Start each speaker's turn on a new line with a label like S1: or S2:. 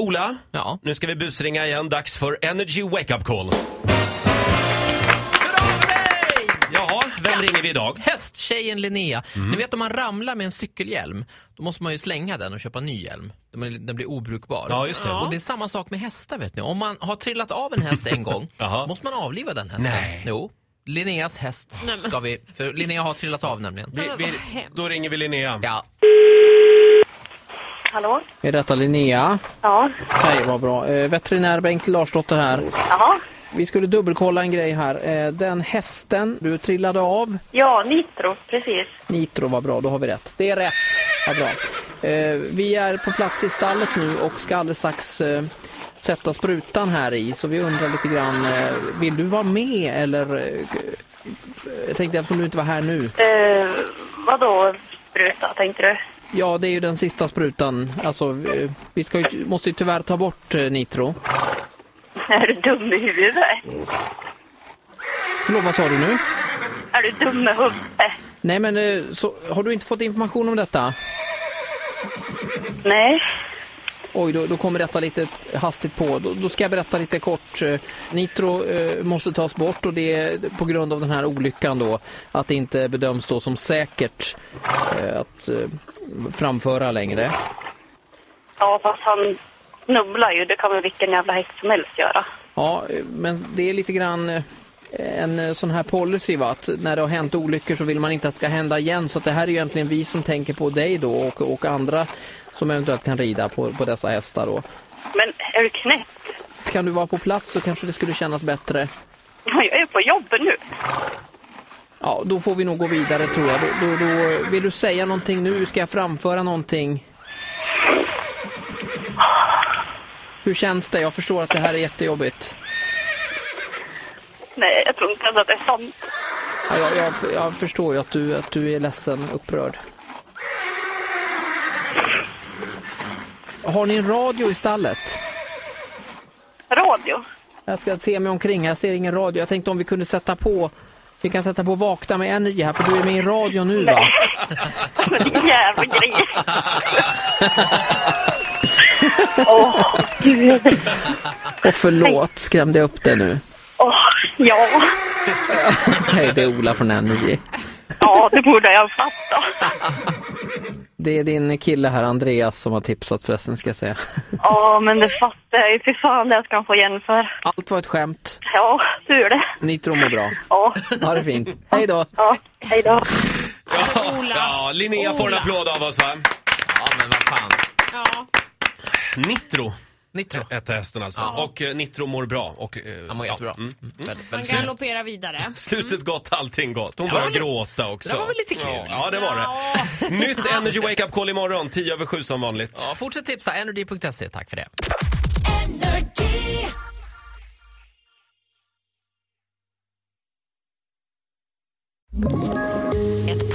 S1: Ola,
S2: Ja.
S1: nu ska vi busringa igen. Dags för Energy Wake Up Call.
S2: Hurra för dig!
S1: Jaha, vem ringer vi idag?
S2: Hästtjejen Linnea.
S1: Mm.
S2: Ni vet om man ramlar med en cykelhjälm, då måste man ju slänga den och köpa en ny hjälm. Den blir- Den blir obrukbar.
S1: Ja, just det.
S2: Och det är samma sak med hästar vet ni. Om man har trillat av en häst en gång,
S1: Jaha.
S2: måste man avliva den hästen.
S1: Nej.
S2: Jo. Linneas häst
S3: Nej, men-
S2: ska vi, för Linnea har trillat av nämligen.
S1: Vi,
S3: Men
S1: vi,
S3: vad hemskt.
S1: då ringer vi Linnea.
S2: Ja.
S4: Hallå?
S5: Är detta Linnea?
S4: Ja.
S5: Hej, vad bra. Eh, veterinär Bengt Larsdotter här.
S4: Jaha.
S5: Vi skulle dubbelkolla en grej här. Eh, den hästen du trillade av,
S4: Ja, Nitro, precis.
S5: Nitro, vad bra, då har vi rätt. Det är rätt. Vad bra. Eh, vi är på plats i stallet nu och ska alldeles strax eh, sätta sprutan här i, så vi undrar lite grann, eh, vill du vara med eller? Eh, jag tänkte eftersom du inte var här nu.
S4: Eh, vadå spruta, tänkte du?
S5: Ja, det är ju den sista sprutan. Alltså, eh, vi ska ju, måste ju tyvärr ta bort eh, Nitro.
S4: Är du dum i huvudet?
S5: Förlåt, vad sa du nu?
S4: Är du dum i huvudet?
S5: Nej, men eh, så, har du inte fått information om detta?
S4: Nej.
S5: Oj, då, då kommer detta lite hastigt på. Då, då ska jag berätta lite kort. Eh, Nitro eh, måste tas bort och det är på grund av den här olyckan då. Att det inte bedöms då som säkert eh, att eh, framföra längre.
S4: Ja, fast han snubblar ju. Det kan väl vilken jävla häst som helst göra.
S5: Ja, eh, men det är lite grann eh, en eh, sån här policy va? att när det har hänt olyckor så vill man inte att det ska hända igen. Så att det här är ju egentligen vi som tänker på dig då och, och andra som eventuellt kan rida på, på dessa hästar då.
S4: Men är du knäpp?
S5: Kan du vara på plats så kanske det skulle kännas bättre.
S4: Ja, Jag är på jobbet nu.
S5: Ja, då får vi nog gå vidare tror jag. Då, då, då, vill du säga någonting nu? Ska jag framföra någonting? Hur känns det? Jag förstår att det här är jättejobbigt.
S4: Nej, jag tror inte ens att det är sant.
S5: Ja, jag, jag, jag förstår ju att du, att du är ledsen, upprörd. Har ni en radio i stallet?
S4: Radio?
S5: Jag ska se mig omkring, jag ser ingen radio. Jag tänkte om vi kunde sätta på, vi kan sätta på Vakna med Energy här, för du är med i radio nu va?
S4: Men din jävla gris. Åh, gud.
S5: Och förlåt, skrämde jag upp dig nu?
S4: Åh, ja.
S5: Hej, det är Ola från Energy.
S4: Ja, det borde jag fatta.
S5: Det är din kille här, Andreas, som har tipsat förresten, ska jag säga.
S4: Ja, men det fattar jag ju. Fy fan, det här ska han få igen för.
S5: Allt var ett skämt.
S4: Ja, tur det.
S5: Nitro mår bra.
S4: Ja,
S5: Ha det fint. Hej då!
S4: ja. Hej då.
S1: Ja,
S3: Ola.
S1: ja, Linnea får en
S3: Ola.
S1: applåd av oss va?
S2: ja, men vad fan.
S3: Ja.
S1: Nitro
S2: Nitro.
S1: hette hästen alltså. Och eh, Nitro mår bra. Och, eh,
S2: Han mår
S1: ja,
S2: jättebra.
S1: mm.
S2: Mm. Väldigt,
S3: Man
S2: väldigt snyggt.
S3: galopperar vidare. Mm.
S1: Slutet gott, allting gott. Hon
S2: Det
S1: började
S2: var väl-
S1: gråta också.
S2: det var väl lite kul?
S1: Ja, ja det var det.
S3: Ja.
S1: Nytt Energy Wake Up Call imorgon, 10 över 7 som vanligt.
S2: Ja, fortsätt tipsa, energy.se. E. Tack för det.
S6: Ett